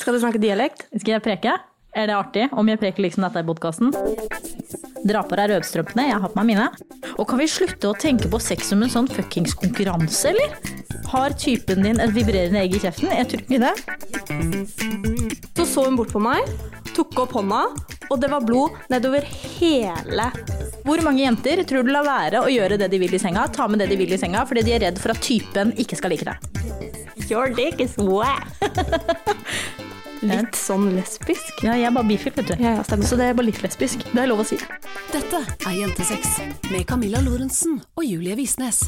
Skal du snakke dialekt? Skal jeg preke? Er det artig om jeg preker liksom dette i podkasten? Dra på deg rødstrømpene, jeg har på meg mine. Og kan vi slutte å tenke på sex som en sånn fuckings konkurranse, eller? Har typen din et vibrerende egg i kjeften? Jeg tror ikke det. Så så hun bort på meg, tok opp hånda, og det var blod nedover hele Hvor mange jenter tror du lar være å gjøre det de vil i senga, ta med det de vil i senga, fordi de er redd for at typen ikke skal like det? Your dick is wet. Litt sånn lesbisk. Ja, jeg er bare bifil, vet du. Ja, ja, stemmer. Så det er bare litt lesbisk. Det er lov å si. Dette er Jentesex med Camilla Lorentzen og Julie Visnes.